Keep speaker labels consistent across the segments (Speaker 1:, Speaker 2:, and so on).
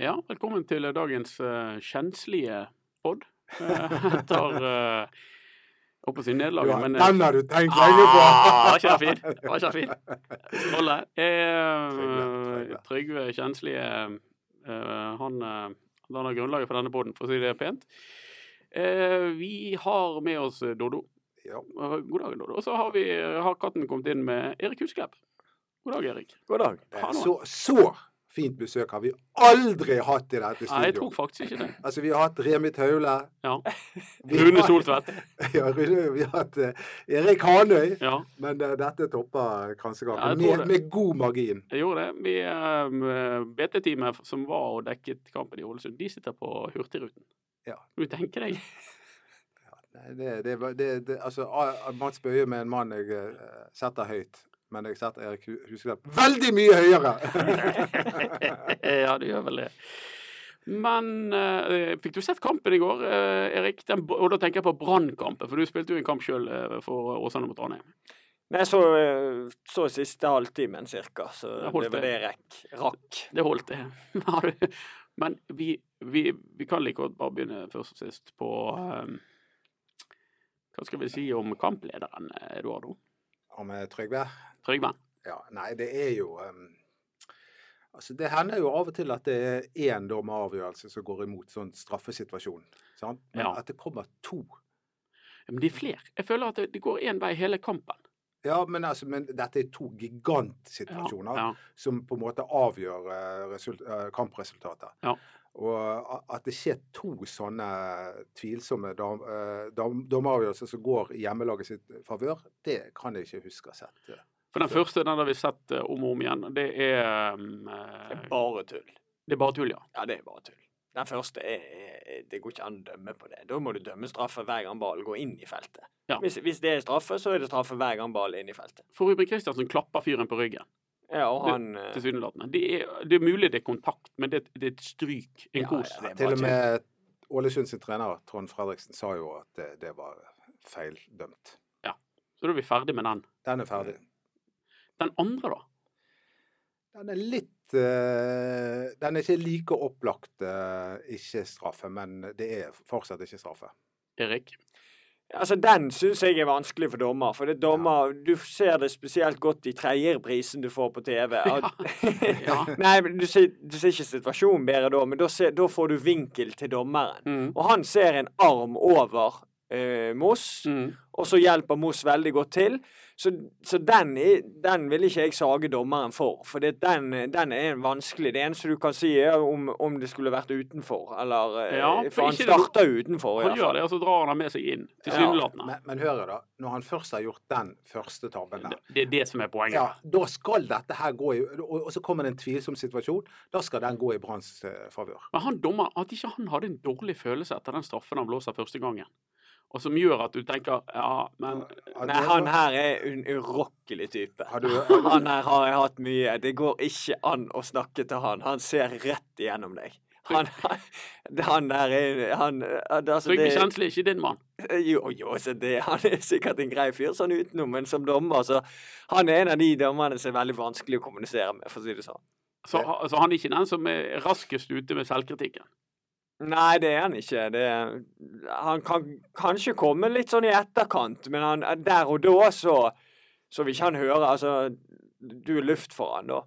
Speaker 1: Ja, velkommen til dagens eh, kjenslige pod. Eh, etter eh, Jeg holdt på å si
Speaker 2: Du
Speaker 1: nederlaget,
Speaker 2: har,
Speaker 1: men eh,
Speaker 2: den har du tenkt lenge på!
Speaker 1: Ah, var ikke det fint? Var ikke det fint? Ståle er
Speaker 2: Trygve,
Speaker 1: Eh, Trygve Kjenslige. eh, han eh, han har grunnlaget for denne poden, for å si det pent. Eh, vi har med oss Dodo.
Speaker 2: Ja.
Speaker 1: God dag, Dodo. Og så har, vi, har katten kommet inn med Erik Husklepp. God dag, Erik.
Speaker 3: God dag.
Speaker 2: Det
Speaker 1: Ha
Speaker 2: er
Speaker 1: nå.
Speaker 2: Så, så fint besøk har vi aldri hatt i dette
Speaker 1: Nei, jeg tror
Speaker 2: studioet.
Speaker 1: faktisk ikke det.
Speaker 2: Altså, vi har hatt Remi Taule.
Speaker 1: Ja.
Speaker 2: Vi har-
Speaker 1: Rune Soltvedt.
Speaker 2: Ja, Rune, vi har hatt eh, Erik Hanøy.
Speaker 1: Ja,
Speaker 2: Men eh, dette topper
Speaker 1: Ja, jeg tror
Speaker 2: kransekaken. med,
Speaker 1: det.
Speaker 2: med god margin.
Speaker 1: jeg gjorde det. Vi, eh, BT-teamet som var og dekket kampen i Ålesund, de sitter på Hurtigruten.
Speaker 2: Ja.
Speaker 1: Du tenker deg.
Speaker 2: Nei, Det, det, var- det, det, altså, A- A- Mats Bøye med en mann jeg eh, setter høyt. Men jeg setter Erik Hu- Husklepp veldig mye høyere!
Speaker 1: ja, det gjør vel det. Men eh, fikk du sett kampen i går, eh, Erik? Den, og da tenker jeg på Brannkampen, for du spilte jo en kamp sjøl for Åsane mot Ranheim.
Speaker 3: Nei, så, eh, så siste halvtimen cirka, så
Speaker 1: Da
Speaker 3: det
Speaker 1: holdt
Speaker 3: var det jeg rekk, rakk.
Speaker 1: Det holdt, det. Har du- Men vi, vi, vi kan like godt bare begynne først og sist på eh, Hva skal vi si om kamplederen, eh, Eduardo?
Speaker 2: Og med eh, Trygve?
Speaker 1: Trygve?
Speaker 2: Ja, nei, det er jo ehm, Altså, det hender jo av og til at det er én dommeravgjørelse som går imot sånn straffesituasjon. Sant? Men
Speaker 1: Ja.
Speaker 2: at det kommer to
Speaker 1: Men det er flere. Jeg føler at det, det går én vei hele kampen.
Speaker 2: Ja, men, altså, men dette er to gigantsituasjoner
Speaker 1: Ja,
Speaker 2: som på en måte avgjør eh, result, eh, kampresultatet.
Speaker 1: Ja.
Speaker 2: Og a- at det skjer to sånne tvilsomme dom, eh, dom, dommeravgjørelser som går i hjemmelaget sitt favør, det kan jeg ikke huske å ha sett. eh.
Speaker 1: For den første, den har vi sett eh, om og om igjen. Det er
Speaker 3: Det er
Speaker 1: eh,
Speaker 3: bare tull.
Speaker 1: Det er bare tull, ja.
Speaker 3: Ja, det er bare tull. Den første er, er- Det går ikke an å dømme på det. Da må du dømme straffe hver gang ballen går inn i feltet.
Speaker 1: Ja.
Speaker 3: Hvis, hvis det er straffe, så er det straffe hver gang ballen er inn i feltet.
Speaker 1: For Ruben Kristiansen klapper fyren på ryggen,
Speaker 3: Ja, og
Speaker 1: Det-
Speaker 3: han eh,
Speaker 1: tilsynelatende. Det, er- det er mulig det er kontakt, men det, det er et stryk, en
Speaker 3: Ja,
Speaker 1: kos.
Speaker 3: ja, det er
Speaker 2: Til
Speaker 3: bare
Speaker 2: og med Ålesund sin trener Trond Fredriksen sa jo at det, det var feildømt.
Speaker 1: Så da er vi ferdig med den.
Speaker 2: Den
Speaker 3: Mm.
Speaker 2: er ferdig.
Speaker 1: Den andre, da?
Speaker 2: Den er litt eh, Den er ikke like opplagt eh, ikke straffe, men det er fortsatt ikke straffe.
Speaker 1: Erik?
Speaker 3: Altså, Den syns jeg er vanskelig for dommer. For det dommer, Du ser det spesielt godt i tredjeprisen du får på TV. At,
Speaker 1: Ja.
Speaker 3: Nei, men du ser, du ser ikke situasjonen bedre da, men da, ser, da får du vinkel til dommeren.
Speaker 1: Mm.
Speaker 3: Og han ser en arm over eh, Moss,
Speaker 1: Mm.
Speaker 3: og så hjelper Moss veldig godt til. Så, så den, er- den vil ikke jeg sage dommeren for, for det, den, den er en vanskelig. Det eneste du kan si, er om, om det skulle vært utenfor, eller eh,
Speaker 1: Ja, for
Speaker 3: For han
Speaker 1: ikke det-
Speaker 3: starter utenfor, i
Speaker 1: Han
Speaker 3: hvert
Speaker 1: gjør
Speaker 3: fall.
Speaker 1: det, og så drar han han med seg inn. Tilsynelatende.
Speaker 2: Men, men hør her, da. Når han først har gjort den første tabben der,
Speaker 1: Det- Det er det som er poenget.
Speaker 2: ja, da skal dette her gå i Og, og så kommer det en tvilsom situasjon. Da skal den gå i Branns eh, favør.
Speaker 1: Men han dommer, at ikke han hadde en dårlig følelse etter den straffen han blåser første gangen, og som gjør at du tenker ja, men
Speaker 2: Har du-
Speaker 3: Nei, han her er en urokkelig type.
Speaker 2: har du,
Speaker 3: Han her har jeg hatt mye. Det går ikke an å snakke til han. Han ser rett igjennom deg. Han, han der er han, altså
Speaker 1: Trygve
Speaker 3: det-
Speaker 1: Kjensli er ikke din mann.
Speaker 3: Eh, Jo, jo, så det, han er sikkert en grei fyr sånn utenom, men som dommer, så Han er en av de dommerne som er veldig vanskelig å kommunisere med, for å si det sånn.
Speaker 1: Så, så han er ikke den som er raskest ute med selvkritikken.
Speaker 3: Nei, det er han ikke. Det, er- han kan kanskje komme litt sånn i etterkant, men han, eh, der og da så Så vil ikke han høre. Altså, du er luft for han da.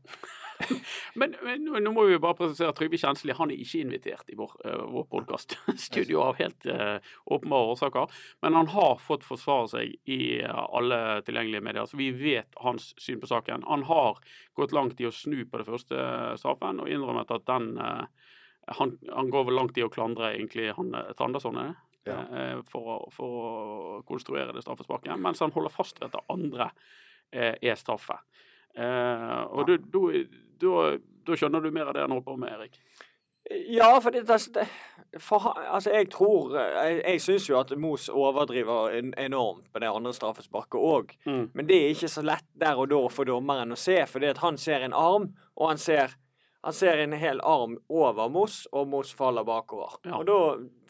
Speaker 1: Men, men nå- nå må vi jo bare presisere at Trygve Kjensli han er ikke invitert i vår, uh, vår podkaststudio av helt eh, åpenbare årsaker. Men han har fått forsvare seg i eh, alle tilgjengelige medier, så vi vet hans syn på saken. Han har gått langt i å snu på det første straffen og innrømmet at den eh, han, han går vel langt i å klandre egentlig han eh, Tanderson er det,
Speaker 2: Ja.
Speaker 1: eh, for, å- for å konstruere det straffesparket, mens han holder fast ved at det andre eh, er straffe. Eh, og du- du- da da skjønner du mer av det han holder på med, Erik.
Speaker 3: Ja, for det, altså, det for, han- altså, jeg tror Jeg, jeg syns jo at Mos overdriver en, enormt på det andre straffesparket òg.
Speaker 2: Mm.
Speaker 3: Men det er ikke så lett der og da for dommeren å se, fordi at han ser en arm, og han ser, han ser en hel arm over Mos, og Mos faller bakover.
Speaker 1: Ja.
Speaker 3: Og da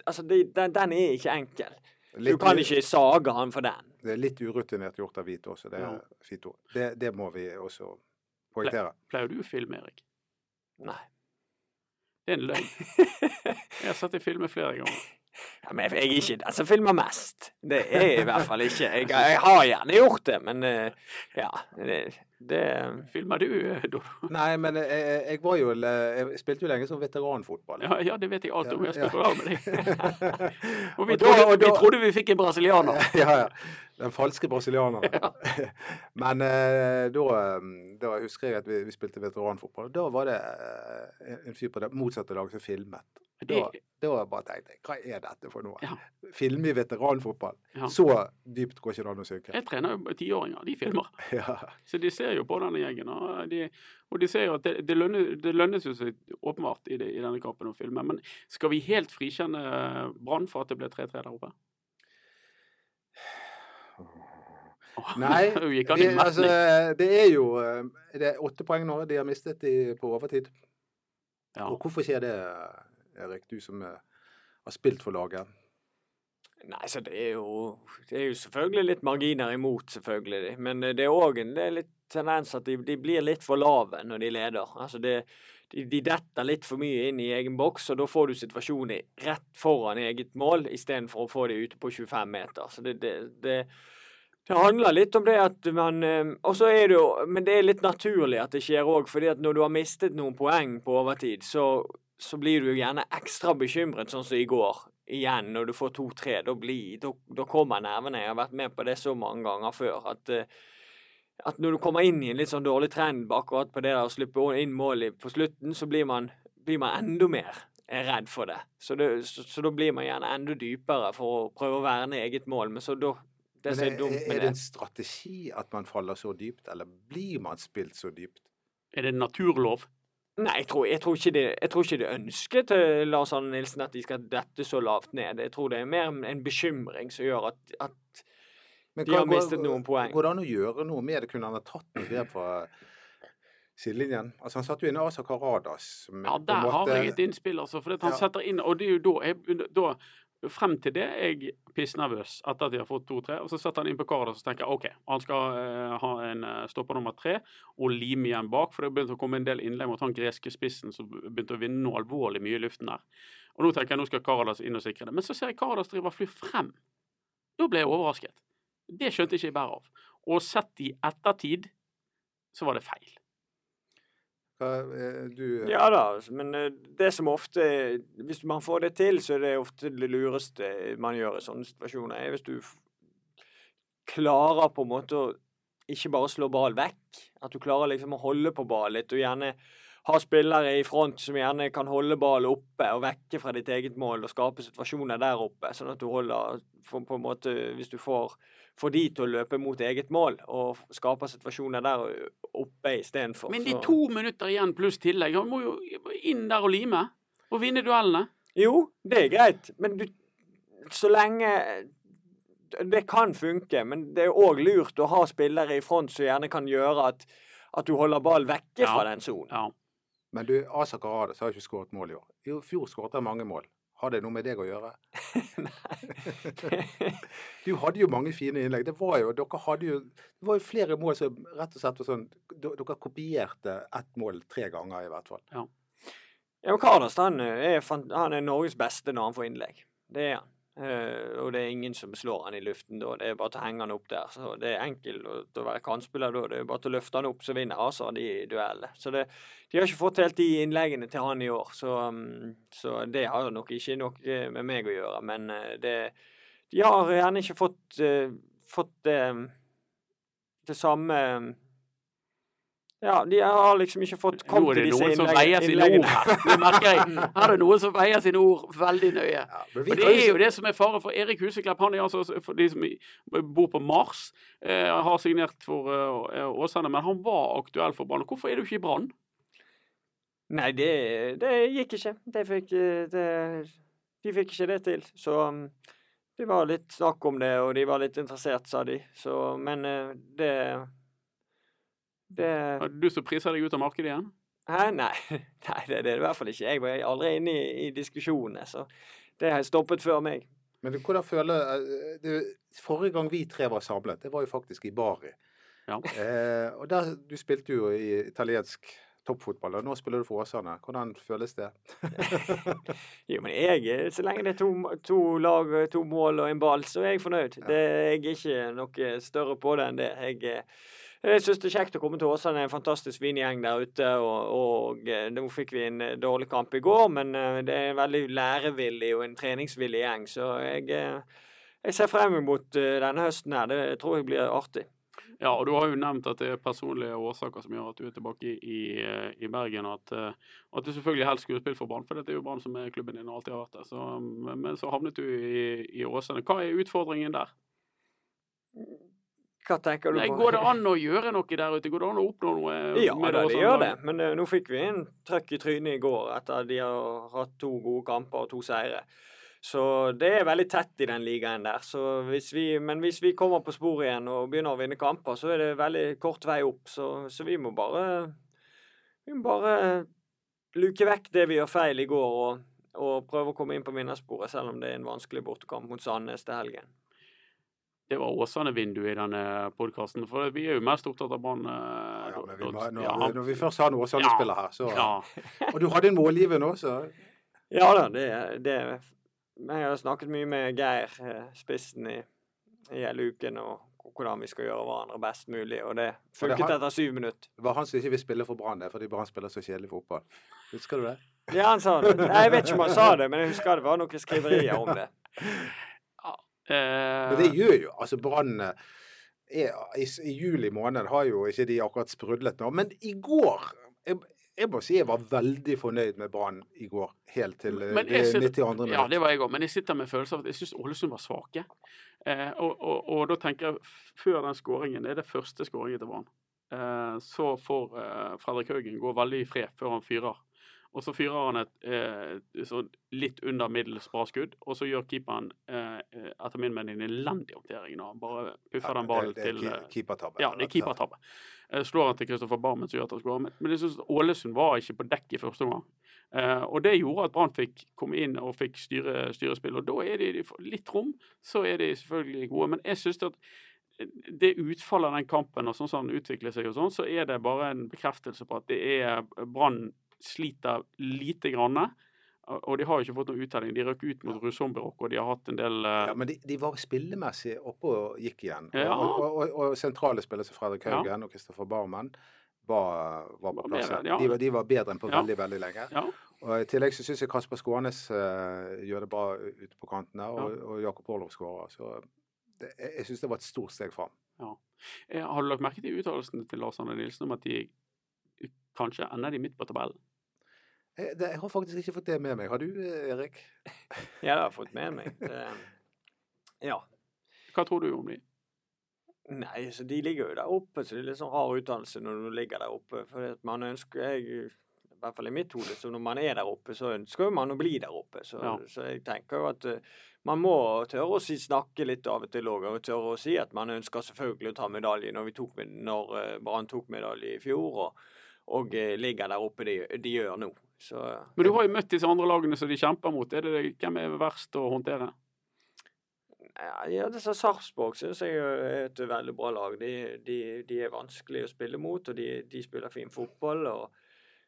Speaker 3: Altså, det, den, den er ikke enkel. Du
Speaker 2: Litt-
Speaker 3: kan ikke sage han for den.
Speaker 2: Det er litt urutinert gjort av hvite også. Det,
Speaker 1: Ja.
Speaker 2: Fito. det, det må vi også poengtere.
Speaker 1: Pleier du å filme, Erik?
Speaker 3: Nei.
Speaker 1: Det er en løgn. Jeg har sett deg filme flere ganger.
Speaker 3: Ja, men jeg jeg er ikke den som filmer mest. Det er jeg i hvert fall ikke. Jeg, jeg har gjerne gjort det, men eh, ja. Det, det
Speaker 1: Filmer du, eh, Dodo?
Speaker 2: Nei, men jeg, jeg, jeg var jo Jeg spilte jo lenge som veteranfotball.
Speaker 1: Ja, ja, det vet jeg alt om. Jeg skal
Speaker 2: Ja, ja.
Speaker 1: være med deg. Og vi,
Speaker 2: Og da-
Speaker 1: trodde,
Speaker 2: og da-
Speaker 1: vi trodde vi fikk en brasilianer.
Speaker 2: ja, ja. Den falske brasilianeren. Men eh, da, eh, da husker jeg at vi, vi spilte veteranfotball. og Da var det eh, en fyr på det motsatte laget som filmet. Da,
Speaker 1: Det-
Speaker 2: da bare tenkte jeg hva er dette for noe?
Speaker 1: Ja.
Speaker 2: Filme i veteranfotball?
Speaker 1: Ja.
Speaker 2: Så dypt går ikke det an å synke.
Speaker 1: Jeg trener jo tiåringer. De filmer.
Speaker 2: Ja.
Speaker 1: Så de ser jo på denne gjengen. Og de, og de ser jo at det, det, lønner, det lønnes jo så åpenbart i, det, i denne kampen å filme. Men skal vi helt frikjenne Brann for at det ble 3-3 der oppe?
Speaker 2: Nei,
Speaker 1: Nå gikk han
Speaker 2: vi,
Speaker 1: i metning.
Speaker 2: altså, det er jo eh, det er åtte poeng nå de har mistet i, på overtid.
Speaker 1: ja.
Speaker 2: Og hvorfor skjer det, Erik, du som eh, har spilt for laget?
Speaker 3: Nei, så det er jo Det er jo selvfølgelig litt marginer imot, selvfølgelig. Men eh, det er òg en det er litt tendens at de, de blir litt for lave når de leder. Altså det de, de detter litt for mye inn i egen boks, og da får du situasjoner rett foran eget mål istedenfor å få de ute på 25 meter. Så det, det, det, det handler litt om det at man eh, Og så er det jo Men det er litt naturlig at det skjer òg, fordi at når du har mistet noen poeng på overtid, så så blir du jo gjerne ekstra bekymret, sånn som i går. Igjen, når du får to-tre, da, blir- da, da kommer nervene. Jeg har vært med på det så mange ganger før. at eh, at når du kommer inn i en litt sånn dårlig trend på akkurat på det der å slippe inn mål i- på slutten, så blir man, blir man enda mer redd for det. Så, det så, så da blir man gjerne enda dypere for å prøve å verne eget mål. Men så da Det som
Speaker 2: Men
Speaker 3: er dumt
Speaker 2: er
Speaker 3: med
Speaker 2: det
Speaker 3: det
Speaker 2: en strategi at man faller så dypt, eller blir man spilt så dypt?
Speaker 1: Er det naturlov?
Speaker 3: Nei, jeg tror, jeg tror ikke det jeg tror ikke det er ønsket til Lars Arne Nilsen at de skal dette så lavt ned. Jeg tror det er mer en bekymring som gjør at, at
Speaker 2: Men
Speaker 3: De
Speaker 2: hva-
Speaker 3: har
Speaker 2: går-
Speaker 3: mistet noen poeng.
Speaker 2: Går det an å gjøre noe med det? Kunne han ha tatt noe grep fra sidelinjen? Altså, han satte jo inn Asa Karadas. som
Speaker 1: Ja,
Speaker 2: på en
Speaker 1: der har
Speaker 2: måte-
Speaker 1: jeg et innspill, altså. For han
Speaker 2: Ja.
Speaker 1: setter inn Og det er jo da jeg da, Frem til det er jeg pissnervøs etter at de har fått to-tre. Og så setter han inn på karet og så tenker jeg, OK, han skal eh, ha en eh, stopper nummer tre og lime igjen bak. For det begynte å komme en del innlegg mot han greske spissen som begynte å vinne noe alvorlig mye i luften der. Og nå tenker jeg nå skal Karadas inn og sikre det. Men så ser jeg Karadas driver og flyr frem. Da ble jeg overrasket. Det skjønte ikke jeg bæret av. Og sett i ettertid så var det feil.
Speaker 2: Hva, eh, Du,
Speaker 3: Ja da, altså, men eh, det som ofte Hvis man får det til, så er det ofte det lureste man gjør i sånne situasjoner. er Hvis du f- klarer på en måte å ikke bare slå ball vekk. At du klarer liksom å holde på ball litt, og gjerne ha spillere i front som gjerne kan holde ball oppe og vekke fra ditt eget mål og skape situasjoner der oppe. Sånn at du holder for, på en måte Hvis du får, får de til å løpe mot eget mål og skaper situasjoner der oppe istedenfor.
Speaker 1: Men det er
Speaker 3: så-
Speaker 1: to minutter igjen pluss tillegg. Han må jo inn der og lime. Og vinne duellene.
Speaker 3: Jo, det er greit, men du Så lenge Det kan funke, men det er òg lurt å ha spillere i front som gjerne kan gjøre at, at du holder ball vekke
Speaker 1: Ja.
Speaker 3: fra den sonen.
Speaker 1: Ja.
Speaker 2: men du, Asa Karadas har ikke skåret mål i år. I fjor skåret han mange mål. Har det noe med deg å gjøre? Du hadde jo mange fine innlegg. Det var jo, dere hadde jo, det var jo flere mål som rett og slett var sånn d- Dere kopierte ett mål tre ganger, i hvert fall.
Speaker 3: Ja, men Kardas han eh, er, fan- han er Norges beste når han får innlegg. Det er han. Eh, og det er ingen som slår han i luften da. Det er bare til å henge han opp der. Så det er enkelt å, å være kantspiller da. Det er bare til å løfte han opp, så vinner Asa de duellene. Så det, de har ikke fått helt de innleggene til han i år. Så, mm, så det har nok ikke noe med meg å gjøre. Men eh, det, de har gjerne ikke fått, eh, fått eh, det samme mm, ja, de har liksom ikke fått
Speaker 1: Nå
Speaker 3: kommet
Speaker 1: er
Speaker 3: til
Speaker 1: det
Speaker 3: disse
Speaker 1: noen som
Speaker 3: innlegg-
Speaker 1: veier sine
Speaker 3: innleggene.
Speaker 1: ord her. Det merker jeg. Her er det noen som veier sine ord veldig nøye.
Speaker 2: Ja, men vi
Speaker 1: Og det
Speaker 2: kan jo
Speaker 1: er
Speaker 2: si-
Speaker 1: jo det som er fare for Erik Huseklepp. Han er altså, for de som bor på Mars, eh, har signert for eh, Åsane, men han var aktuell for Brann. Hvorfor er du ikke i Brann?
Speaker 3: Nei, det, det gikk ikke. Det fikk, eh, det, de fikk ikke det til. Så um, det var litt snakk om det, og de var litt interessert, sa de. Så, men eh, det Det
Speaker 1: Er det Du som priser deg ut av markedet igjen?
Speaker 3: Hæ? Nei, Nei det, det er det i hvert fall ikke. Jeg var aldri inne i, i diskusjonene, så det har stoppet før meg.
Speaker 2: Men du, hvordan føler eh, det, Forrige gang vi tre var samlet, det var jo faktisk i Bari.
Speaker 1: Ja.
Speaker 2: Eh, og der, du spilte jo i italiensk toppfotball, og nå spiller du for Åsane. Hvordan føles det?
Speaker 3: Jo, men jeg, er- så lenge det er to, to lag, og to mål og en ball, så er jeg fornøyd. Det, jeg er ikke noe større på det enn det. Jeg, eh, jeg syns det er kjekt å komme til Åsane. Det er En fantastisk fin gjeng der ute. Og, og eh, nå fikk vi en eh, dårlig kamp i går, men eh, det er en veldig lærevillig og en treningsvillig gjeng. Så jeg, eh, jeg ser frem mot eh, denne høsten her. Det tror jeg blir artig.
Speaker 1: Ja, og du har jo nevnt at det er personlige årsaker som gjør at du er tilbake i, i Bergen. og At, eh, at du selvfølgelig helst skulle spilt for Brann, for dette er jo Brann som er klubben din og alltid har vært der. Så, men men så havnet du i, i Åsane. Hva er utfordringen der?
Speaker 3: Hva tenker du
Speaker 1: Nei,
Speaker 3: på?
Speaker 1: går det an å gjøre noe der ute? Går det an å oppnå noe eh,
Speaker 3: Ja,
Speaker 1: med
Speaker 3: da, det gjør det.
Speaker 1: Åsane-laget?
Speaker 3: Men eh, nå fikk vi en trøkk i trynet i går etter at de har hatt to gode kamper og to seire. Så det er veldig tett i den ligaen der. Så hvis vi, men hvis vi kommer på sporet igjen og begynner å vinne kamper, så er det veldig kort vei opp. Så, så vi må bare Vi må bare luke vekk det vi gjør feil i går, og, og prøve å komme inn på vinnersporet, selv om det er en vanskelig bortekamp mot Sandnes til helgen.
Speaker 1: Det var Åsane-vinduet i denne podkasten, for vi er jo mest opptatt av Brann. eh,
Speaker 2: Ja, men vi, må-
Speaker 1: dot-
Speaker 2: når,
Speaker 1: ja,
Speaker 2: når vi først har en Åsane-spiller her, så
Speaker 1: ja.
Speaker 2: Og du hadde en målgiver nå, så
Speaker 3: Ja da, det, det Jeg har snakket mye med Geir, eh, spissen i, i hele uken, og hvordan vi skal gjøre hverandre best mulig, og det
Speaker 2: Og det
Speaker 3: funket
Speaker 2: har-
Speaker 3: etter syv minutter.
Speaker 2: Det var han som ikke vil spille for Brann, det, fordi Brann spiller så kjedelig fotball. Husker du det?
Speaker 3: Ja, han sa det. Nei, Jeg vet ikke om han sa det, men jeg husker det var noen skriverier om det.
Speaker 1: Eh,
Speaker 2: Men det gjør jo altså Brann eh, er, i, s- I juli måned har jo ikke de akkurat sprudlet nå. Men i går jeg, jeg må si jeg var veldig fornøyd med Brann i går, helt til eh,
Speaker 1: Men
Speaker 2: det
Speaker 1: jeg synes-
Speaker 2: 92. minutt.
Speaker 1: Ja, det var jeg òg, men jeg sitter med følelsen av at jeg syns Ålesund var svake. Eh, og, og, og da tenker jeg f- før den skåringen, det er det første skåringen til Brann, eh, så får eh, Fredrik Haugen gå veldig i fred før han fyrer. Og så fyrer han et eh, sånn litt under middels bra skudd, og så gjør keeperen eh, etter min mening en elendig håndtering når han bare puffer den ballen
Speaker 2: det, det
Speaker 1: til
Speaker 2: er
Speaker 1: eh,
Speaker 2: ki- keepertabbe. altså.
Speaker 1: ja, det er keepertabbe. Eh, Slår han til Kristoffer Barmen, som gjør at han skårer. Men- Men jeg synes Ålesund var ikke på dekk i første omgang. Eh, og det gjorde at Brann fikk komme inn og fikk styre, styre spill. Og da er de de får litt rom, så er de selvfølgelig gode. Men jeg synes at eh, det utfallet av den kampen og sånn som den utvikler seg, og sånn, så er det bare en bekreftelse på at det er eh, Brann sliter lite grann. Og de har jo ikke fått noen uttelling. De røk ut mot Rusomberok, og de har hatt en del eh,
Speaker 2: Ja, men de, de var spillemessig oppe og gikk igjen.
Speaker 1: Ja.
Speaker 2: Og, og, og, og sentrale spillere som Fredrik
Speaker 1: Ja.
Speaker 2: Haugen og Kristoffer Barmen var,
Speaker 1: Var
Speaker 2: var på plass.
Speaker 1: bedre,
Speaker 2: igjen.
Speaker 1: ja.
Speaker 2: De, var, de var bedre enn på
Speaker 1: Ja.
Speaker 2: veldig, veldig lenge.
Speaker 1: ja.
Speaker 2: Og I tillegg så syns jeg Kasper Skånes eh, gjør det bra ute på kantene, og, og Jakob Orlov skårer. Så eh, det, jeg, jeg syns det var et stort steg fram.
Speaker 1: Eh, Har du lagt merke til uttalelsene til Lars Arne Nilsen om at de kanskje ender de midt på tabellen?
Speaker 2: Jeg, det, jeg har faktisk ikke fått det med meg. Har du, eh, Erik?
Speaker 3: Ja, det har jeg fått med meg. Det, ja.
Speaker 1: Hva tror du om de?
Speaker 3: Nei, så de ligger jo der oppe, så det er litt sånn hard utdannelse når du ligger der oppe. For at man ønsker jeg, I hvert fall i mitt hode, så når man er der oppe, så ønsker jo man å bli der oppe. Så,
Speaker 1: Ja.
Speaker 3: så jeg tenker jo at eh, man må tørre å si, snakke litt av og til òg, og tørre å si at man ønsker selvfølgelig å ta medalje når, vi tok, med- når eh, Brann tok medalje i fjor, og, og eh, ligger der oppe de, de gjør nå. Så
Speaker 1: Men du har jo møtt disse andre lagene som de kjemper mot. Er det, hvem er verst å håndtere?
Speaker 3: Ja, Eh, ja, det så Sarpsborg syns jeg er et veldig bra lag. De, de, de er vanskelig å spille mot, og de, de spiller fin fotball. og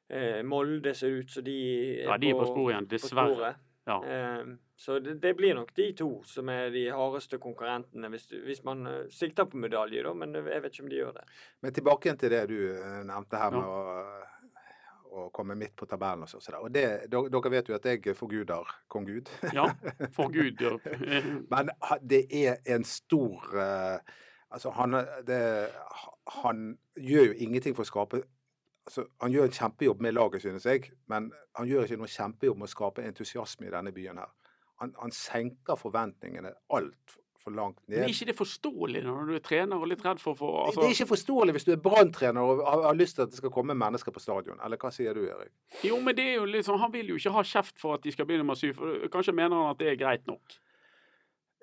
Speaker 3: eh, Molde ser ut som de er
Speaker 1: Ja, de er på sporet igjen, dessverre.
Speaker 3: sporet.
Speaker 1: Ja.
Speaker 3: Eh, så det, det blir nok de to som er de hardeste konkurrentene, hvis, du- hvis man eh, sikter på medalje, da. Men jeg vet ikke om de gjør det.
Speaker 2: Men tilbake igjen til det du eh, nevnte her
Speaker 1: Ja.
Speaker 2: med å, å komme midt på tabellen og sånn. så der. Og det, dere dere vet jo at jeg forguder kong Gud.
Speaker 1: ja. For Gud. Ja. Eh,
Speaker 2: Men ha- det er en stor eh, Altså, han, er- det, han gjør jo ingenting for å skape altså, Han gjør en kjempejobb med laget, synes jeg, men han gjør ikke noe kjempejobb med å skape entusiasme i denne byen her. Han, han senker forventningene altfor langt
Speaker 1: Men
Speaker 2: ned.
Speaker 1: er ikke det forståelig når du er trener og litt redd for å få
Speaker 2: Det-
Speaker 1: altså,
Speaker 2: det er ikke forståelig hvis du er branntrener og har, har lyst til at det skal komme mennesker på stadion. Eller hva sier du, Erik?
Speaker 1: Jo, men det er jo liksom, Han vil jo ikke ha kjeft for at de skal bli nummer syv. for eh, Kanskje mener han at det er greit nok.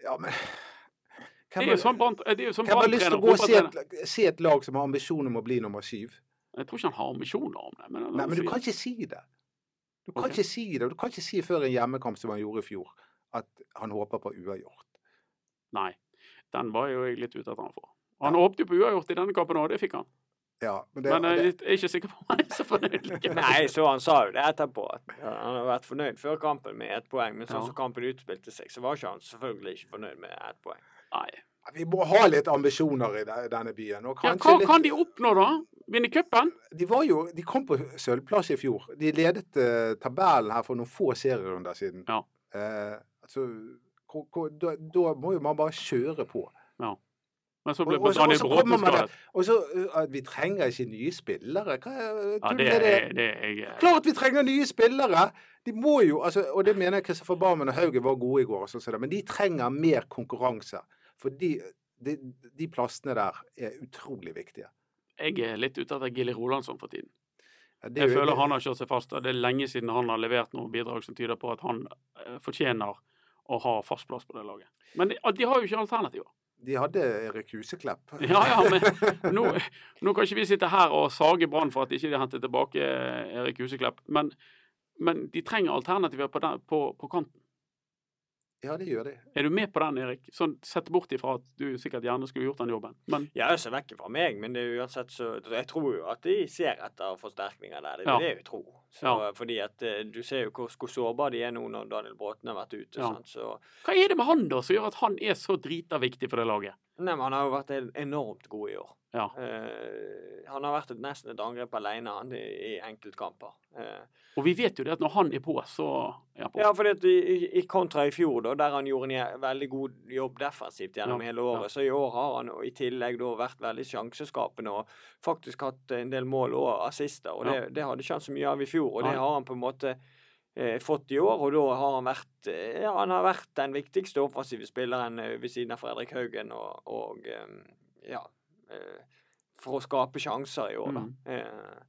Speaker 2: Ja, men
Speaker 1: Det
Speaker 2: Hvem
Speaker 1: er jo
Speaker 2: har-
Speaker 1: sånn Brann- det er jo sånn
Speaker 2: hvem har lyst til
Speaker 1: branntrener
Speaker 2: å gå og se
Speaker 1: fotballtrener-
Speaker 2: et, se et lag som har ambisjon om å bli nummer syv?
Speaker 1: Jeg tror ikke han har ambisjoner om det. Men, han-
Speaker 2: Nei, men du kan ikke si det. Du kan
Speaker 1: Ok.
Speaker 2: ikke si det. og Du kan ikke si før en hjemmekamp som han gjorde i fjor, at han håper på uavgjort.
Speaker 1: Nei. Den var jo jeg litt ute etter han for. Han håpte jo på uavgjort i denne kampen òg, det fikk han.
Speaker 2: Ja, men det,
Speaker 1: Men eh,
Speaker 2: det,
Speaker 1: jeg er ikke sikker på om han er så fornøyd likevel.
Speaker 3: Nei, så han sa jo det etterpå. At ja, han har vært fornøyd før kampen med ett poeng, men sånn
Speaker 1: Ja.
Speaker 3: som kampen utspilte seg, så var ikke han selvfølgelig ikke fornøyd med ett poeng.
Speaker 1: Nei.
Speaker 2: vi må ha litt ambisjoner i de- denne byen. Og
Speaker 1: Ja,
Speaker 2: kanskje
Speaker 1: hva
Speaker 2: litt,
Speaker 1: kan de oppnå, da? Vinne cupen?
Speaker 2: de, var jo, de kom på sølvplass i fjor. De ledet eh, tabellen her for noen få serierunder siden.
Speaker 1: Ja.
Speaker 2: Eh, altså, hvor- hvor- da, da må jo man bare kjøre på.
Speaker 1: Men så ble
Speaker 2: Og- og så- og
Speaker 1: Daniel
Speaker 2: så
Speaker 1: Bråten
Speaker 2: kommer man
Speaker 1: skadet.
Speaker 2: Og så eh, at vi trenger ikke nye spillere. Hva eh,
Speaker 1: Ja,
Speaker 2: tull
Speaker 1: det
Speaker 2: er det?
Speaker 1: er det er jeg
Speaker 2: Klart vi trenger nye spillere! De må jo, altså, og det mener jeg Kristoffer Barmen og Hauge var gode i går, og sånn som det, men de trenger mer konkurranse. For de, de, de plassene der er utrolig viktige.
Speaker 1: Jeg er litt ute etter Gilly Rolandsson for tiden.
Speaker 2: Ja, det er
Speaker 1: Jeg
Speaker 2: jo-
Speaker 1: føler han har kjørt seg fast. og Det er lenge siden han har levert noen bidrag som tyder på at han eh, fortjener å ha fast plass på det laget. Men de, de har jo ikke alternativer.
Speaker 2: De hadde Erik Huseklepp.
Speaker 1: Ja, ja, men nå, nå kan ikke vi sitte her og sage Brann for at ikke de ikke hentet tilbake eh, Erik Huseklepp. Men, men de trenger alternativer på, den, på, på kanten.
Speaker 2: Ja, det gjør de.
Speaker 1: Er du med på den, Erik? Sånn Sett bort ifra at du sikkert gjerne skulle gjort den jobben. Men
Speaker 3: altså, Jeg er så vekk fra meg, men det er uansett så Jeg tror jo at de ser etter forsterkninger der. Det er
Speaker 1: Ja.
Speaker 3: det jeg tror. Så,
Speaker 1: Ja.
Speaker 3: Fordi at eh, du ser jo hvor, hvor sårbare de er nå når Daniel Bråten har vært ute.
Speaker 1: Ja.
Speaker 3: Sant? Så,
Speaker 1: hva er det med han da som gjør at han er så drita viktig for det laget?
Speaker 3: nei, men han har jo vært en- enormt god i år.
Speaker 1: Ja.
Speaker 3: Eh, han har vært et, nesten et angrep alene han, i, i enkeltkamper. Eh,
Speaker 1: Og vi vet jo det at når han er på, så er han på.
Speaker 3: Ja, fordi at i, i- i kontra i fjor, da, der han gjorde en je- veldig god jobb defensivt gjennom
Speaker 1: Ja,
Speaker 3: hele året,
Speaker 1: ja.
Speaker 3: så i år har han i tillegg da vært veldig sjanseskapende og faktisk hatt en del mål og assister. og Det, det hadde ikke han så mye av i fjor, og det
Speaker 1: Nei.
Speaker 3: har han på en måte eh, fått i år. Og da har han vært eh, ja, han har vært den viktigste offensive spilleren eh, ved siden av Fredrik Haugen og, og eh, ja eh, For å skape sjanser i år, da.
Speaker 1: Mm.
Speaker 3: Eh,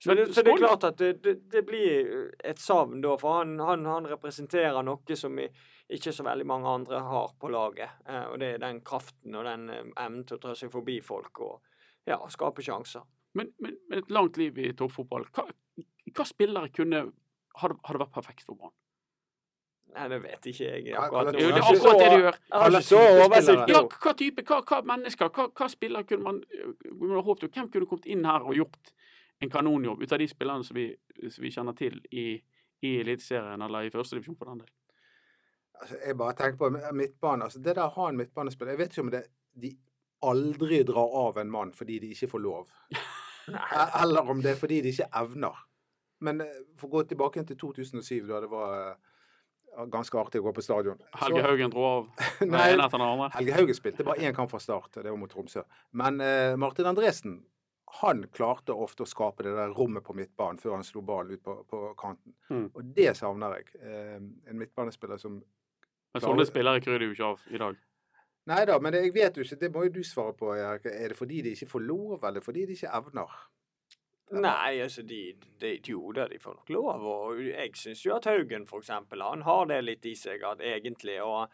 Speaker 3: så
Speaker 1: Men
Speaker 3: det, så det er
Speaker 1: Skåle-
Speaker 3: klart at det, det, det blir et savn da, for han, han, han representerer noe som i, ikke så veldig mange andre har på laget. Eh, og det er den kraften og den eh, evnen til å ta seg forbi folk og ja, skape sjanser.
Speaker 1: Men, men, men et langt liv i toppfotball. Hva, hva spillere kunne hadde, hadde vært perfekt for Brann?
Speaker 3: Nei, det vet ikke jeg
Speaker 2: Hva-
Speaker 3: akkurat
Speaker 2: hva-
Speaker 1: Det er jo det,
Speaker 2: Kanskje
Speaker 1: akkurat det de gjør.
Speaker 3: Jeg har
Speaker 2: Alle
Speaker 3: ikke så
Speaker 2: superspillere.
Speaker 3: oversikt
Speaker 1: Ja,
Speaker 3: nå.
Speaker 1: hva type, hva, hva mennesker, hva, hva spillere kunne man kunne håpet på? Hvem kunne kommet inn her og gjort en kanonjobb ut av de spillerne som vi, som vi kjenner til i, i Eliteserien eller i førstedivisjon for den del?
Speaker 2: Altså, jeg bare tenker på midtbane. Altså, det der å ha en midtbanespiller Jeg vet ikke om det de aldri drar av en mann fordi de ikke får lov. E- Eller om det er fordi de ikke evner. Men eh, for å gå tilbake til 2007, da det var eh, ganske artig å gå på stadion.
Speaker 1: Helge Haugen dro av
Speaker 2: Så,
Speaker 1: den
Speaker 2: nei,
Speaker 1: ene etter den andre.
Speaker 2: Helge Haugen spilte bare én kamp fra start, og det var mot Tromsø. Men eh, Martin Andresen han klarte ofte å skape det der rommet på midtbanen før han slo ballen ut på, på kanten.
Speaker 1: Mm.
Speaker 2: Og det savner jeg. Eh, en midtbanespiller som
Speaker 1: Men sånne spillere kryr det jo ikke av i dag.
Speaker 2: Nei da, men det- jeg vet jo ikke. Det må jo du svare på, Erik. Er det fordi de ikke får lov, eller fordi de ikke evner?
Speaker 3: Nei, altså de, de Jo da, de får nok lov. Og jeg syns jo at Haugen for eksempel, han har det litt i seg at egentlig. og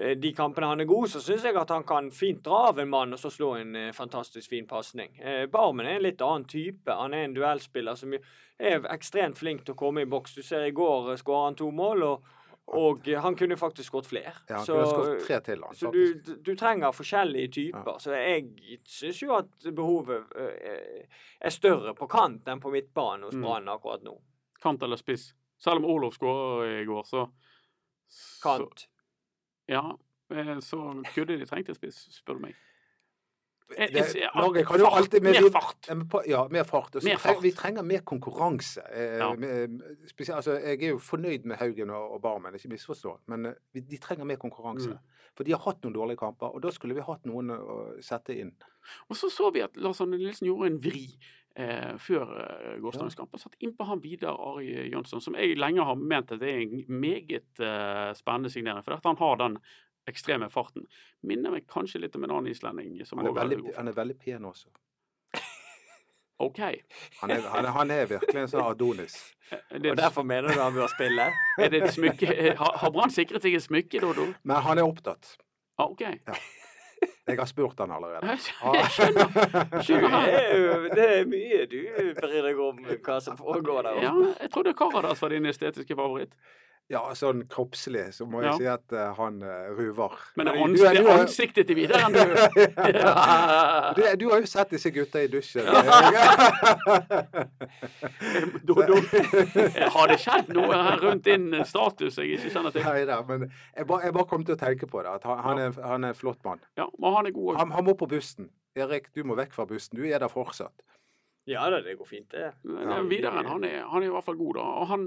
Speaker 3: eh, de kampene han er god, så syns jeg at han kan fint dra av en mann og så slå en eh, fantastisk fin pasning. Eh, Barmen er en litt annen type. Han er en duellspiller som jo er ekstremt flink til å komme i boks. Du ser i går eh, skåret han to mål, og, og eh, han kunne faktisk skåret flere.
Speaker 2: Ja, han
Speaker 3: Så-
Speaker 2: kunne skåret tre til, han,
Speaker 1: Altså,
Speaker 3: så
Speaker 2: faktisk.
Speaker 3: du, du trenger forskjellige typer. Så jeg syns jo at behovet eh, er større på kant enn på midtbanen hos
Speaker 1: Mm.
Speaker 3: Brann akkurat nå.
Speaker 1: Kant eller spiss. Selv om Olof skåra i går, så, så
Speaker 3: Kant.
Speaker 1: Ja, eh, så kunne de trengt en spiss, spør du meg. Jeg- jeg
Speaker 2: Det-
Speaker 1: sier at
Speaker 2: Norge kan jo
Speaker 1: fart,
Speaker 2: alltid
Speaker 1: mer
Speaker 2: vi-
Speaker 1: fart.
Speaker 2: Ja, men på- Ja, mer fart. Og så
Speaker 1: Mer
Speaker 2: treng-
Speaker 1: fart.
Speaker 2: Vi trenger mer konkurranse. Eh,
Speaker 1: Ja.
Speaker 2: med- spesielt, altså, jeg er jo fornøyd med Haugen og, og Barmen, ikke misforstå, men eh, vi- de trenger mer konkurranse.
Speaker 1: Mm.
Speaker 2: For de har hatt noen dårlige kamper, og da skulle vi hatt noen å sette inn.
Speaker 1: Og så så vi at Lars Arne Nilsen gjorde en vri eh, før eh, gårsdagens kamp. Og satt innpå han Vidar Ari eh, Jønsson, som jeg lenge har ment at det er en meget eh, spennende signering. For at han har den ekstreme farten. Minner meg kanskje litt om en annen islending. som
Speaker 2: Han er
Speaker 1: også er
Speaker 2: veldig,
Speaker 1: god.
Speaker 2: han er veldig pen også.
Speaker 1: OK.
Speaker 2: Han er, han er, han er virkelig en sånn Adonis.
Speaker 1: Er
Speaker 3: Og
Speaker 1: det,
Speaker 3: derfor mener du han bør spille?
Speaker 1: er det et smykke? Eh, Har, har Brann sikret seg et smykke, Dodo?
Speaker 2: Men han er opptatt.
Speaker 1: Ah, OK.
Speaker 2: Jeg har spurt han allerede. Ah,
Speaker 1: Jeg skjønner.
Speaker 3: Du
Speaker 1: skjønner han.
Speaker 3: er jo- Det er mye du bryr deg om hva som foregår der
Speaker 1: Ja,
Speaker 3: oppe.
Speaker 1: jeg trodde Karadas var din estetiske favoritt.
Speaker 2: Ja, sånn kroppslig så må jeg
Speaker 1: Ja.
Speaker 2: si at eh, han eh, ruver.
Speaker 1: Men det er
Speaker 2: Du-
Speaker 1: ans- det
Speaker 2: du
Speaker 1: er
Speaker 2: har-
Speaker 1: ansiktet til Vidar enn du
Speaker 2: Du, du har jo sett disse gutta i dusjen.
Speaker 1: Du- du- Eh, Har det skjedd noe her rundt din status jeg ikke kjenner til?
Speaker 2: Nei da, men jeg bare, jeg bare kom til å tenke på det. At han, han, er, han er en flott mann.
Speaker 1: Ja, men han er god også.
Speaker 2: Han, han må på bussen. Erik, du må vekk fra bussen. Du er der fortsatt.
Speaker 3: Ja da, det går fint, det.
Speaker 1: Men, eh, Vidaren han er, han er i hvert fall god, da. Og han,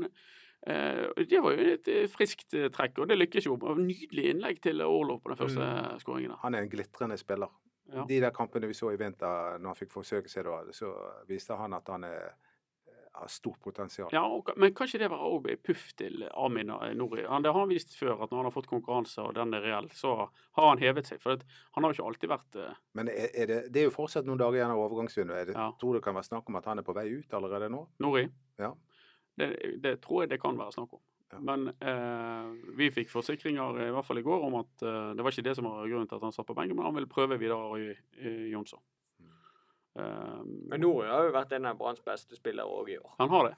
Speaker 1: eh, det var jo et eh, friskt eh, trekk, og det lykkes jo. Og Nydelig innlegg til Orlov på den første eh, skåringen. der.
Speaker 2: Han er en glitrende spiller.
Speaker 1: Ja.
Speaker 2: De der kampene vi så i vinter, når han fikk forsøke seg da, så viste han at han er, eh, har stort potensial.
Speaker 1: Ja, og, men kan ikke det være også et puff til Amin Nori? Han, det har han vist før, at når han har fått konkurranse og den er reell, så har han hevet seg. For at, han har jo ikke alltid vært eh,
Speaker 2: Men er, er det, det er jo fortsatt noen dager igjen av overgangsvinduet. Jeg
Speaker 1: Ja.
Speaker 2: tror det kan være snakk om at han er på vei ut allerede nå.
Speaker 1: Nori.
Speaker 2: Ja.
Speaker 1: Det, det tror jeg det kan være snakk om.
Speaker 2: Ja.
Speaker 1: Men eh, vi fikk forsikringer, i hvert fall i går, om at eh, det var ikke det som var grunnen til at han satt på benken, men han vil prøve videre i, i Jonsson.
Speaker 2: Mm.
Speaker 1: Eh,
Speaker 3: Men Nori har jo vært en av Branns beste spillere òg i år.
Speaker 1: han har det.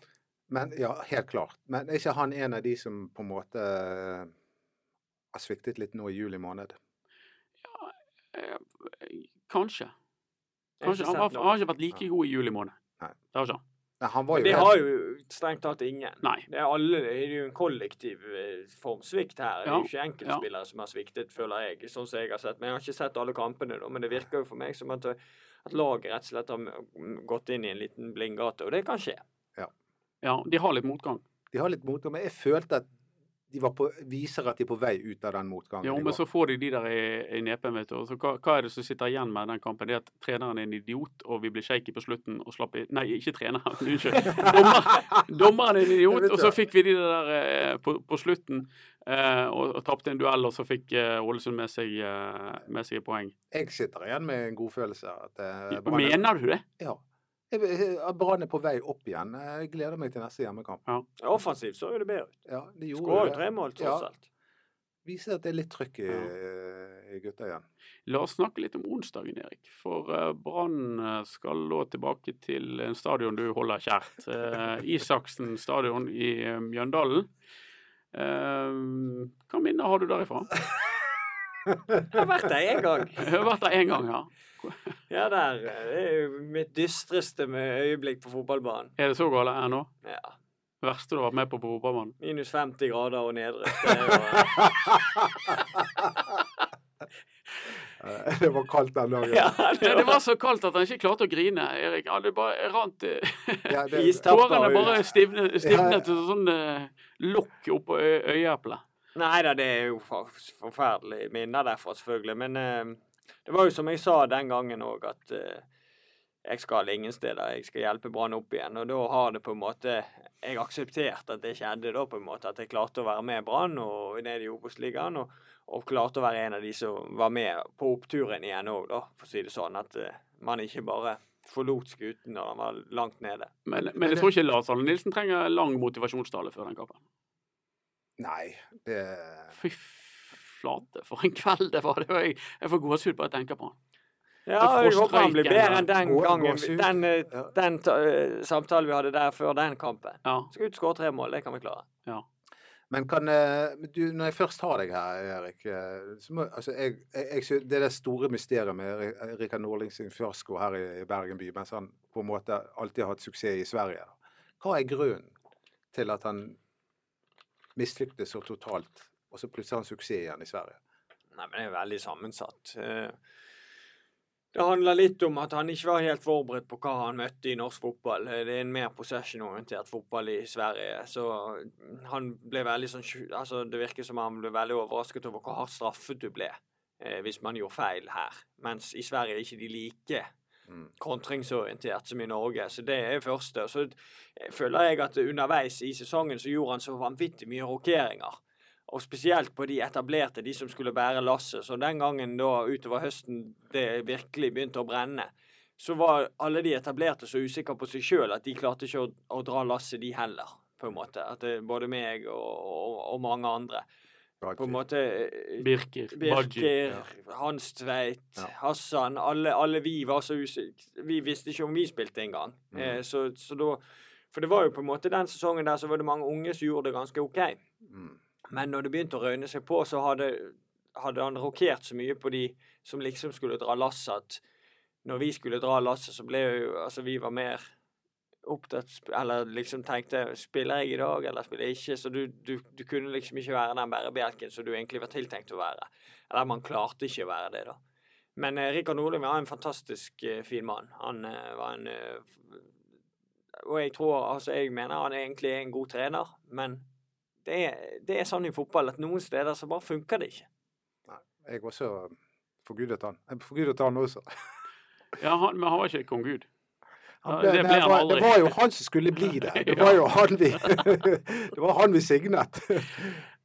Speaker 2: Men ja, helt klart. Men er ikke han en av de som på en måte eh, har sviktet litt nå i juli måned?
Speaker 1: Eh, Kanskje. Kanskje.
Speaker 3: Jeg har ikke
Speaker 1: Han,
Speaker 3: sett
Speaker 1: var,
Speaker 3: noe.
Speaker 1: han har ikke vært like god i juli måned.
Speaker 2: Nei.
Speaker 1: Det har ikke han.
Speaker 2: Nei, han var
Speaker 3: Men
Speaker 2: jo
Speaker 3: det
Speaker 2: helt-
Speaker 3: har jo strengt tatt ingen.
Speaker 1: Nei.
Speaker 3: Det er, alle, det er jo en kollektiv eh, formsvikt her. Det er
Speaker 1: Ja,
Speaker 3: jo ikke enkeltspillere som har sviktet, føler jeg. sånn som jeg har sett. Men jeg har ikke sett alle kampene, da. Men det virker jo for meg som at, eh, at laget rett og slett har mm, gått inn i en liten blindgate. Og det kan skje.
Speaker 1: Ja, de har litt motgang.
Speaker 2: De har litt motgang, men jeg følte at de var på, viser at de er på vei ut av den motgangen.
Speaker 1: Jo,
Speaker 2: de
Speaker 1: men
Speaker 2: var.
Speaker 1: så får de de der i, i nepen, vet du. Og så hva, hva er det som sitter igjen med den kampen? Det er at treneren er en idiot, og vi ble shaky på slutten og slapp i Nei, ikke treneren, unnskyld. Dommer, dommeren er en idiot, og så fikk vi de der eh, på, på slutten. Eh, og, og tapte en duell, og så fikk eh, Ålesund med seg, eh, med seg et poeng.
Speaker 2: Jeg sitter igjen med en god følelse av at eh, Brann er-
Speaker 1: Mener du det?
Speaker 2: ja. Jeg- jeg- at Brann er på vei opp igjen. Jeg gleder meg til neste hjemmekamp.
Speaker 3: Offensivt så er det bedre.
Speaker 2: Ja, de gjorde
Speaker 3: Skårer
Speaker 2: det.
Speaker 3: tre mål, tross
Speaker 2: Ja.
Speaker 3: alt.
Speaker 2: Viser at det er litt trøkk i, eh, i gutta igjen.
Speaker 1: La oss snakke litt om onsdagen, Erik. For eh, Brann eh, skal nå tilbake til en stadion du holder kjært. eh, Isaksen stadion i eh, Mjøndalen. Eh, Hva minner har du derifra?
Speaker 3: Jeg har vært der én gang.
Speaker 1: Jeg har vært der én gang, ja.
Speaker 3: Ja, der. eh, Det er jo mitt dystreste med øyeblikk på fotballbanen.
Speaker 1: Er det så galt det er nå?
Speaker 3: Ja.
Speaker 1: Verste du har vært med på på fotballbanen?
Speaker 3: Minus 50 grader og nedre. Det er jo, eh,
Speaker 2: Eh, Det var kaldt den dagen.
Speaker 3: Ja,
Speaker 1: Det
Speaker 3: det var
Speaker 1: var så kaldt at han ikke klarte å grine, Erik. Ja, det bare rant eh,
Speaker 2: Ja, det,
Speaker 3: Istapper
Speaker 1: Tårene
Speaker 3: ut.
Speaker 1: bare stivnet, stivnet til sånn eh, lokk oppå ø- øyeeplet.
Speaker 3: Nei da, det er jo for- forferdelige minner derfra, selvfølgelig. Men eh, det var jo som jeg sa den gangen òg, at eh, jeg skal ingen steder. Jeg skal hjelpe Brann opp igjen. Og da har det på en måte Jeg aksepterte at det skjedde, da, på en måte. At jeg klarte å være med Brann og ned i Obos-ligaen. Og, og klarte å være en av de som var med på oppturen igjen òg, da, for å si det sånn. At eh, man ikke bare forlot skuten når den var langt nede.
Speaker 1: Men, men jeg tror ikke Lars Arne Nilsen trenger lang motivasjonstale før den kampen.
Speaker 2: Nei, det
Speaker 1: Fy flate, for en kveld det var. Det var jeg, jeg får gåsehud bare jeg tenker på han.
Speaker 3: Ja,
Speaker 1: Da får
Speaker 3: jeg håper han blir
Speaker 1: streiken,
Speaker 3: bedre
Speaker 1: ja.
Speaker 3: enn den
Speaker 2: Gå-
Speaker 3: gangen.
Speaker 2: gåsehud.
Speaker 3: Den, eh,
Speaker 2: Ja.
Speaker 3: den ta- eh, samtalen vi hadde der før den kampen.
Speaker 1: Ja.
Speaker 3: Skal ut skåre tre mål, det kan vi klare.
Speaker 2: Men kan eh, men du, når jeg først har deg her, Erik eh, så må, altså, jeg, jeg, jeg, sy- Det er det store mysteriet med Ri- Rikard Norling sin fiasko her i, i Bergen by, mens han på en måte alltid har hatt suksess i Sverige. Hva er grunnen til at han mislyktes så totalt, og så plutselig har han suksess igjen i Sverige?
Speaker 3: Nei, men det er veldig sammensatt. Eh, Det handler litt om at han ikke var helt forberedt på hva han møtte i norsk fotball. Eh, Det er en mer possession-orientert fotball i Sverige, så mm, han ble veldig sånn sju- Altså, det virker som han ble veldig overrasket over hvor hardt straffet du ble eh, hvis man gjorde feil her. Mens i Sverige er ikke de like
Speaker 2: Mm.
Speaker 3: kontringsorientert som i Norge. Så det er første. Og Så føler jeg at underveis i sesongen så gjorde han så vanvittig mye rokeringer. Og spesielt på de etablerte, de som skulle bære lasset. Så den gangen da utover høsten det virkelig begynte å brenne, så var alle de etablerte så usikre på seg sjøl at de klarte ikke å, å dra lasset, de heller. På en måte. At det, både meg og, og, og mange andre. På en måte eh,
Speaker 1: Birker, Baji.
Speaker 3: Birker, Hans Tveit,
Speaker 2: Ja.
Speaker 3: Hassan. Alle, alle vi var så usikre. Vi visste ikke om vi spilte engang.
Speaker 2: Mm.
Speaker 3: Eh, så, så da For det var jo på en måte den sesongen der så var det mange unge som gjorde det ganske OK.
Speaker 2: Mm.
Speaker 3: Men når det begynte å røyne seg på, så hadde, hadde han rokert så mye på de som liksom skulle dra lasset, at når vi skulle dra lasset, så ble jo Altså, vi var mer opptatt sp- Eller liksom tenkte Spiller jeg i dag, eller spiller jeg ikke? Så du, du, du kunne liksom ikke være den bærebjelken som du egentlig var tiltenkt å være. Eller man klarte ikke å være det, da. Men eh, Rikard Nordlund var en fantastisk eh, fin mann. Han eh, var en eh, Og jeg tror, altså jeg mener han egentlig er en god trener, men det er, det er sånn i fotball at noen steder så bare funker det ikke.
Speaker 2: Jeg også forgudet han. Jeg forgudet han også.
Speaker 1: Ja, han, men han var ikke kong Gud.
Speaker 2: Han
Speaker 1: Ja, det ble
Speaker 2: nei,
Speaker 1: han
Speaker 2: var,
Speaker 1: aldri.
Speaker 2: det var jo han som skulle bli det. Det var jo han vi, det var han vi signet.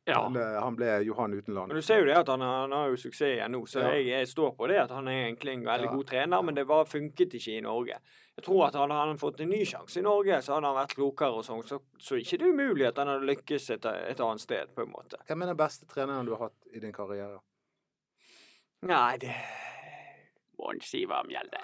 Speaker 1: Ja.
Speaker 2: Men, eh, han ble Johan Utenland.
Speaker 3: Men du ser jo det at han, han har jo suksess igjen nå, så
Speaker 2: Ja.
Speaker 3: jeg, jeg står på det at han er egentlig en veldig
Speaker 2: Ja.
Speaker 3: god trener, men det bare funket ikke i Norge. Jeg tror at hadde han fått en ny sjanse i Norge, så hadde han vært klokere og sånn, så, så ikke det er umulig at han hadde lykkes et, et annet sted, på en måte.
Speaker 2: Hvem er den beste treneren du har hatt i din karriere?
Speaker 3: Nei, det
Speaker 1: Mon Sivam Gjelde.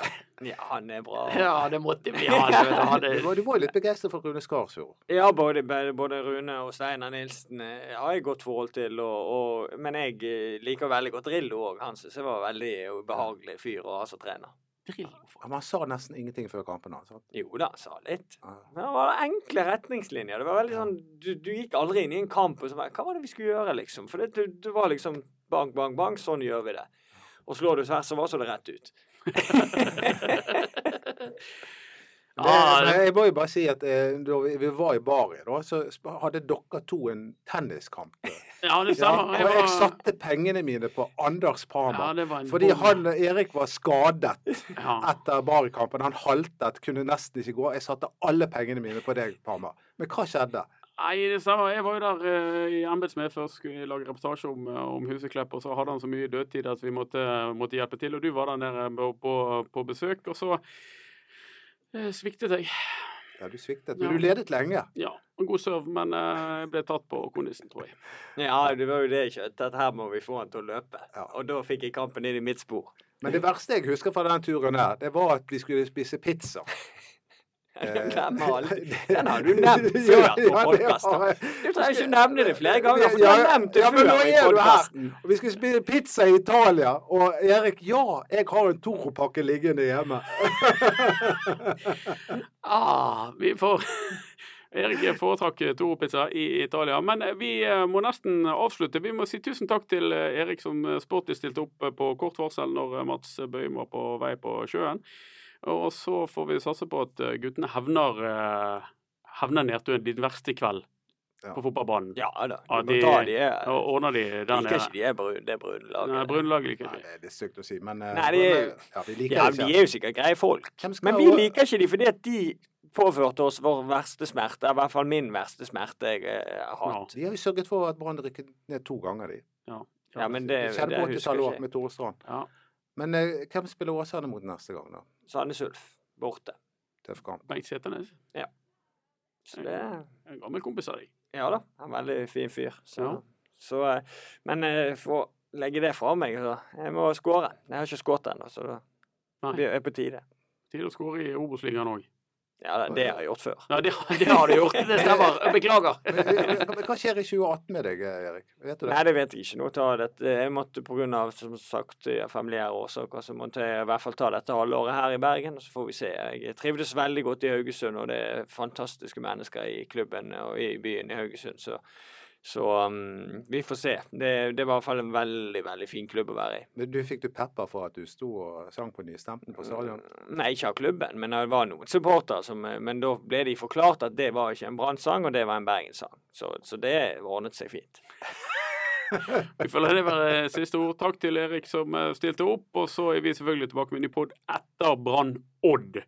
Speaker 3: Ja, han er bra.
Speaker 1: Ja, det måtte bli han. vet du. Han
Speaker 2: Du
Speaker 1: er-
Speaker 2: var, du var jo litt begeistret for Rune Skarsfjord.
Speaker 3: Ja, både, både både Rune og Steinar Nilsen eh, har jeg godt forhold til. Og, og, men jeg eh, liker veldig godt Drillo òg. Han synes jeg var en veldig ubehagelig fyr å ha som trener.
Speaker 1: Drillo, for-
Speaker 2: Men han sa nesten ingenting før kampen. Altså.
Speaker 3: Jo da, sa litt.
Speaker 2: Ja.
Speaker 3: Men det var enkle retningslinjer. Det var veldig sånn, Du, du gikk aldri inn i en kamp og så bare Hva var det vi skulle gjøre, liksom? For det, du, du var liksom bang, bang, bang. Sånn gjør vi det. Og slår du tvers, så var så det rett ut.
Speaker 2: Det,
Speaker 1: Ja,
Speaker 2: men
Speaker 1: det-
Speaker 2: jeg må jo bare si at eh, da vi, vi var i Bari, da, så sp- hadde dere to en tenniskamp. eh.
Speaker 1: ja, det
Speaker 2: Ja,
Speaker 1: stemmer.
Speaker 2: og
Speaker 1: Jeg
Speaker 2: jeg
Speaker 1: var-
Speaker 2: satte pengene mine på Anders
Speaker 1: Ja,
Speaker 2: Parma.
Speaker 1: det var en
Speaker 2: Fordi
Speaker 1: bom.
Speaker 2: han eh, Erik var skadet
Speaker 1: Ja.
Speaker 2: etter Bari-kampen. Han haltet, kunne nesten ikke gå. Jeg satte alle pengene mine på deg, Parma. Men hva skjedde?
Speaker 1: Nei, det stemmer. Jeg var jo der eh, i embetsmed først, skulle lage reportasje om, eh, om Huseklepp, og så hadde han så mye dødtid at vi måtte, måtte hjelpe til. Og du var der nede på, på, på besøk, og så eh, sviktet jeg.
Speaker 2: Ja, du sviktet.
Speaker 1: Ja.
Speaker 2: Men du ledet lenge.
Speaker 1: Ja, en god serv, men eh, jeg ble tatt på kondisen, tror jeg.
Speaker 3: Ja, det var jo det jeg skjønte, at her må vi få han til å løpe.
Speaker 2: Ja.
Speaker 3: Og da fikk jeg kampen inn i mitt spor.
Speaker 2: Men det verste jeg husker fra den turen her, det var at vi skulle spise pizza.
Speaker 3: Den
Speaker 2: Eh,
Speaker 3: glemmer aldri. Den har du nevnt før
Speaker 2: Ja,
Speaker 3: på
Speaker 2: ja, det har
Speaker 3: podkasten.
Speaker 2: jeg.
Speaker 3: Du trenger ikke nevne det flere ganger, for du
Speaker 2: Ja,
Speaker 3: har nevnt det
Speaker 2: ja, men
Speaker 3: før
Speaker 2: nå er
Speaker 3: i
Speaker 2: du her.
Speaker 3: podkasten.
Speaker 2: Og vi skulle spise pizza i Italia, og Erik, ja, jeg har en Toro-pakke liggende hjemme.
Speaker 1: Ah, vi får... Erik foretrakk Toro-pizza i Italia, men eh, vi eh, må nesten avslutte. Vi må si tusen takk til eh, Erik som eh, sporty stilte opp eh, på kort varsel når eh, Mats Bøhm var på vei på sjøen. Og så får vi satse på at eh, guttene hevner, eh, hevner nedturen din verste kveld
Speaker 2: Ja.
Speaker 1: på fotballbanen.
Speaker 3: Ja da.
Speaker 1: Ja,
Speaker 3: Du må
Speaker 1: de-
Speaker 3: ta de er
Speaker 1: Og ordner de der
Speaker 3: Liker ikke
Speaker 1: nede.
Speaker 3: de er brun, det er brunlaget.
Speaker 1: Nei, Brunelaget liker
Speaker 2: Nei,
Speaker 1: ikke.
Speaker 2: det er litt stygt å si, men eh,
Speaker 3: Nei, det er-
Speaker 2: ja, vi liker
Speaker 3: Ja,
Speaker 2: det
Speaker 3: de
Speaker 2: ikke.
Speaker 3: er jo sikkert greie folk.
Speaker 2: Hvem skal-
Speaker 3: Men vi liker ikke de fordi at de påførte oss vår verste smerte. I hvert fall min verste smerte jeg eh, har
Speaker 1: Ja.
Speaker 3: hatt.
Speaker 2: Vi har jo sørget for at Brann rykket ned to ganger, de.
Speaker 3: Ja, men det,
Speaker 2: vi
Speaker 3: det
Speaker 2: kjenner på
Speaker 3: husker
Speaker 2: 80-tallet
Speaker 3: jeg
Speaker 2: òg,
Speaker 3: ikke.
Speaker 2: med Tore Strand.
Speaker 1: Ja.
Speaker 2: Men eh, hvem spiller Åsane mot neste gang, da?
Speaker 3: Sandnes Ulf. Borte.
Speaker 2: Tøff kamp.
Speaker 1: Bengt Seternes.
Speaker 3: Så det
Speaker 1: En gammel kompis av deg.
Speaker 3: Ja da, en veldig fin fyr. Så,
Speaker 1: Ja.
Speaker 3: så eh, Men eh, for å legge det fra meg, så Jeg må skåre. Jeg har ikke skåret ennå, så det
Speaker 1: Nei.
Speaker 3: blir- er på tide.
Speaker 1: Tid å skåre i Obos-ligaen òg.
Speaker 3: Ja, det, det har jeg gjort før.
Speaker 1: Ja, det, det har du gjort. Det stemmer. Jeg Beklager.
Speaker 2: Men, eh, Hva hva skjer i 2018 med deg, eh, Erik? Vet du det?
Speaker 3: Nei, det vet jeg ikke. Nå tar jeg dette. Jeg måtte pga. som sagt eh, familiære årsaker, så måtte jeg i hvert fall ta dette halvåret her i Bergen, og så får vi se. Jeg trivdes veldig godt i Haugesund, og det er fantastiske mennesker i klubben og i byen i Haugesund, så så um, vi får se. Det, det var i hvert fall en veldig, veldig fin klubb å være i.
Speaker 2: Men Du fikk du pepper for at du sto og sang på Nystemten på stadion?
Speaker 3: Nei, ikke av klubben, men det var noen supportere som Men da ble de forklart at det var ikke en Brann-sang, og det var en Bergen-sang. Så, så det ordnet seg fint.
Speaker 1: Vi føler det være siste ord. Takk til Erik som eh, stilte opp. Og så er vi selvfølgelig tilbake med en ny pod etter Brann Odd.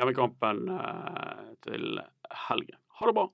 Speaker 1: Hjemmekampen eh, til helgen. Ha det bra.